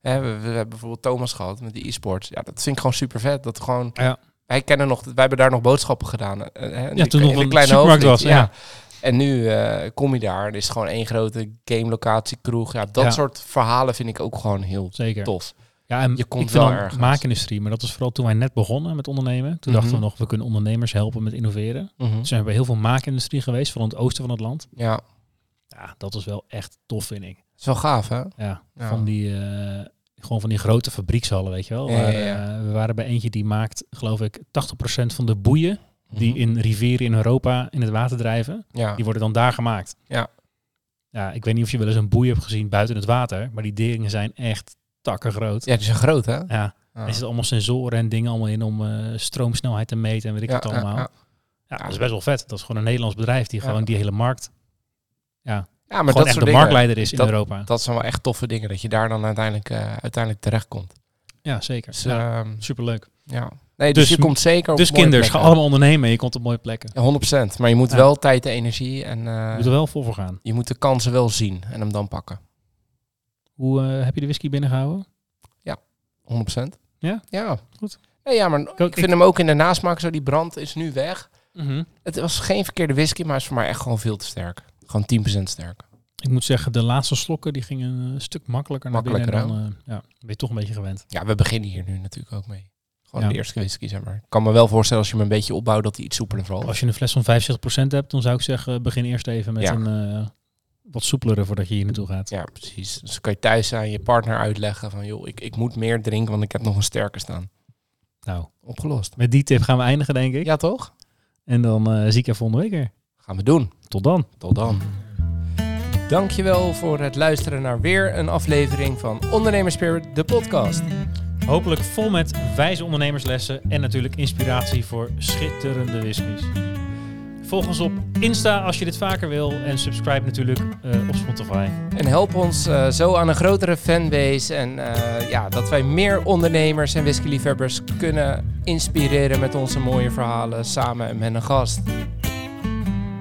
[SPEAKER 2] Hè, we, we hebben bijvoorbeeld Thomas gehad met die e-sports. Ja, dat vind ik gewoon super vet. Dat gewoon...
[SPEAKER 1] Ja.
[SPEAKER 2] Wij kennen nog... Wij hebben daar nog boodschappen gedaan. eh, hè, in
[SPEAKER 1] Ja,
[SPEAKER 2] de-
[SPEAKER 1] toen
[SPEAKER 2] in
[SPEAKER 1] nog
[SPEAKER 2] de
[SPEAKER 1] een
[SPEAKER 2] kleine
[SPEAKER 1] supermarkt was.
[SPEAKER 2] hoofdwinkel.
[SPEAKER 1] Ja.
[SPEAKER 2] En nu eh, kom je daar en is het gewoon één grote game locatie, kroeg. Ja, dat
[SPEAKER 1] Ja.
[SPEAKER 2] soort verhalen vind ik ook gewoon heel
[SPEAKER 1] zeker.
[SPEAKER 2] tof.
[SPEAKER 1] Ja, en
[SPEAKER 2] Je komt
[SPEAKER 1] ik vind
[SPEAKER 2] wel
[SPEAKER 1] dan
[SPEAKER 2] ergens.
[SPEAKER 1] maakindustrie, maar dat is vooral toen wij net begonnen met ondernemen. Toen dachten we
[SPEAKER 2] Mhm.
[SPEAKER 1] nog, we kunnen ondernemers helpen met innoveren. Toen zijn we bij heel veel maakindustrie geweest, vooral in het oosten van het land.
[SPEAKER 2] Ja,
[SPEAKER 1] Ja, dat is wel echt tof, vind ik.
[SPEAKER 2] is wel gaaf hè?
[SPEAKER 1] Ja,
[SPEAKER 2] Ja.
[SPEAKER 1] van die... eh, gewoon van die grote fabriekshallen, weet je wel.
[SPEAKER 2] Ja, ja,
[SPEAKER 1] Waar,
[SPEAKER 2] ja.
[SPEAKER 1] eh, we waren bij eentje die maakt, geloof ik, 80% van de boeien die
[SPEAKER 2] Mhm.
[SPEAKER 1] in rivieren in Europa in het water drijven,
[SPEAKER 2] Ja,
[SPEAKER 1] die worden dan daar gemaakt.
[SPEAKER 2] Ja.
[SPEAKER 1] Ja, ik weet niet of je wel eens een boei hebt gezien buiten het water, maar die dingen zijn echt takken groot.
[SPEAKER 2] ja die zijn groot hè?
[SPEAKER 1] ja.
[SPEAKER 2] Ja.
[SPEAKER 1] Er zitten allemaal sensoren en dingen allemaal in om eh, stroomsnelheid te meten en weet ik
[SPEAKER 2] Ja,
[SPEAKER 1] het
[SPEAKER 2] ja,
[SPEAKER 1] allemaal. Ja,
[SPEAKER 2] ja.
[SPEAKER 1] dat is best wel vet. Dat is gewoon een Nederlands bedrijf die
[SPEAKER 2] Ja.
[SPEAKER 1] gewoon die hele markt,
[SPEAKER 2] Ja, maar
[SPEAKER 1] gewoon
[SPEAKER 2] dat
[SPEAKER 1] echt
[SPEAKER 2] soort
[SPEAKER 1] de
[SPEAKER 2] dingen,
[SPEAKER 1] marktleider is in
[SPEAKER 2] dat-
[SPEAKER 1] Europa.
[SPEAKER 2] dat zijn wel echt toffe dingen, dat je daar dan uiteindelijk, eh uiteindelijk terechtkomt.
[SPEAKER 1] Ja, zeker.
[SPEAKER 2] Dus,
[SPEAKER 1] ja,
[SPEAKER 2] ehm,
[SPEAKER 1] superleuk.
[SPEAKER 2] ja. Nee, dus,
[SPEAKER 1] Dus-
[SPEAKER 2] je komt zeker op
[SPEAKER 1] Dus
[SPEAKER 2] mooie
[SPEAKER 1] kinders, ga
[SPEAKER 2] plekken.
[SPEAKER 1] allemaal ondernemen. Je komt op mooie plekken.
[SPEAKER 2] Ja, 100%, maar je moet
[SPEAKER 1] Ja.
[SPEAKER 2] wel tijd en energie en eh,
[SPEAKER 1] Je moet er wel vol voor gaan.
[SPEAKER 2] je moet de kansen wel zien en hem dan pakken.
[SPEAKER 1] Hoe eh, heb je de whisky binnengehouden?
[SPEAKER 2] 100%.
[SPEAKER 1] Ja?
[SPEAKER 2] Ja.
[SPEAKER 1] Goed.
[SPEAKER 2] Nee, ja, maar ik,
[SPEAKER 1] ook-
[SPEAKER 2] vind hem ook in de nasmaak zo. Die brand is nu weg.
[SPEAKER 1] Mhm.
[SPEAKER 2] Het was geen verkeerde whisky, maar is voor mij echt gewoon veel te sterk. Gewoon 10% sterker.
[SPEAKER 1] Ik moet zeggen, de laatste slokken die gingen eh, een stuk makkelijker,
[SPEAKER 2] Makkelijker,
[SPEAKER 1] naar binnen. En dan eh, ja, ben je toch een beetje gewend.
[SPEAKER 2] Ja, we beginnen hier nu natuurlijk ook mee. Gewoon
[SPEAKER 1] Ja.
[SPEAKER 2] de eerste whisky, zeg maar. Ik kan me wel voorstellen als je hem een beetje opbouwt dat hij iets soepeler valt.
[SPEAKER 1] Als je een fles van 65% hebt, dan zou ik zeggen, begin eerst even met
[SPEAKER 2] Ja.
[SPEAKER 1] een eh, wat soepelere voordat je hier naartoe gaat.
[SPEAKER 2] Ja, precies. Dus dan kan je thuis aan je partner uitleggen van... joh, ik, ik moet meer drinken, want ik heb nog een sterker staan.
[SPEAKER 1] Nou,
[SPEAKER 2] Opgelost.
[SPEAKER 1] met die tip gaan we eindigen, denk ik.
[SPEAKER 2] Ja, toch?
[SPEAKER 1] En dan eh, zie ik je volgende week weer.
[SPEAKER 2] Gaan we doen.
[SPEAKER 1] Tot dan.
[SPEAKER 2] Tot dan. Dankjewel voor het luisteren naar weer een aflevering van Ondernemers Spirit, de podcast.
[SPEAKER 1] Hopelijk vol met wijze ondernemerslessen en natuurlijk inspiratie voor schitterende whiskies. Volg ons op Insta als je dit vaker wil en subscribe natuurlijk eh, op Spotify.
[SPEAKER 2] En help ons eh, zo aan een grotere fanbase. En eh, ja, dat wij meer ondernemers en whiskyliefhebbers kunnen inspireren met onze mooie verhalen samen met een gast.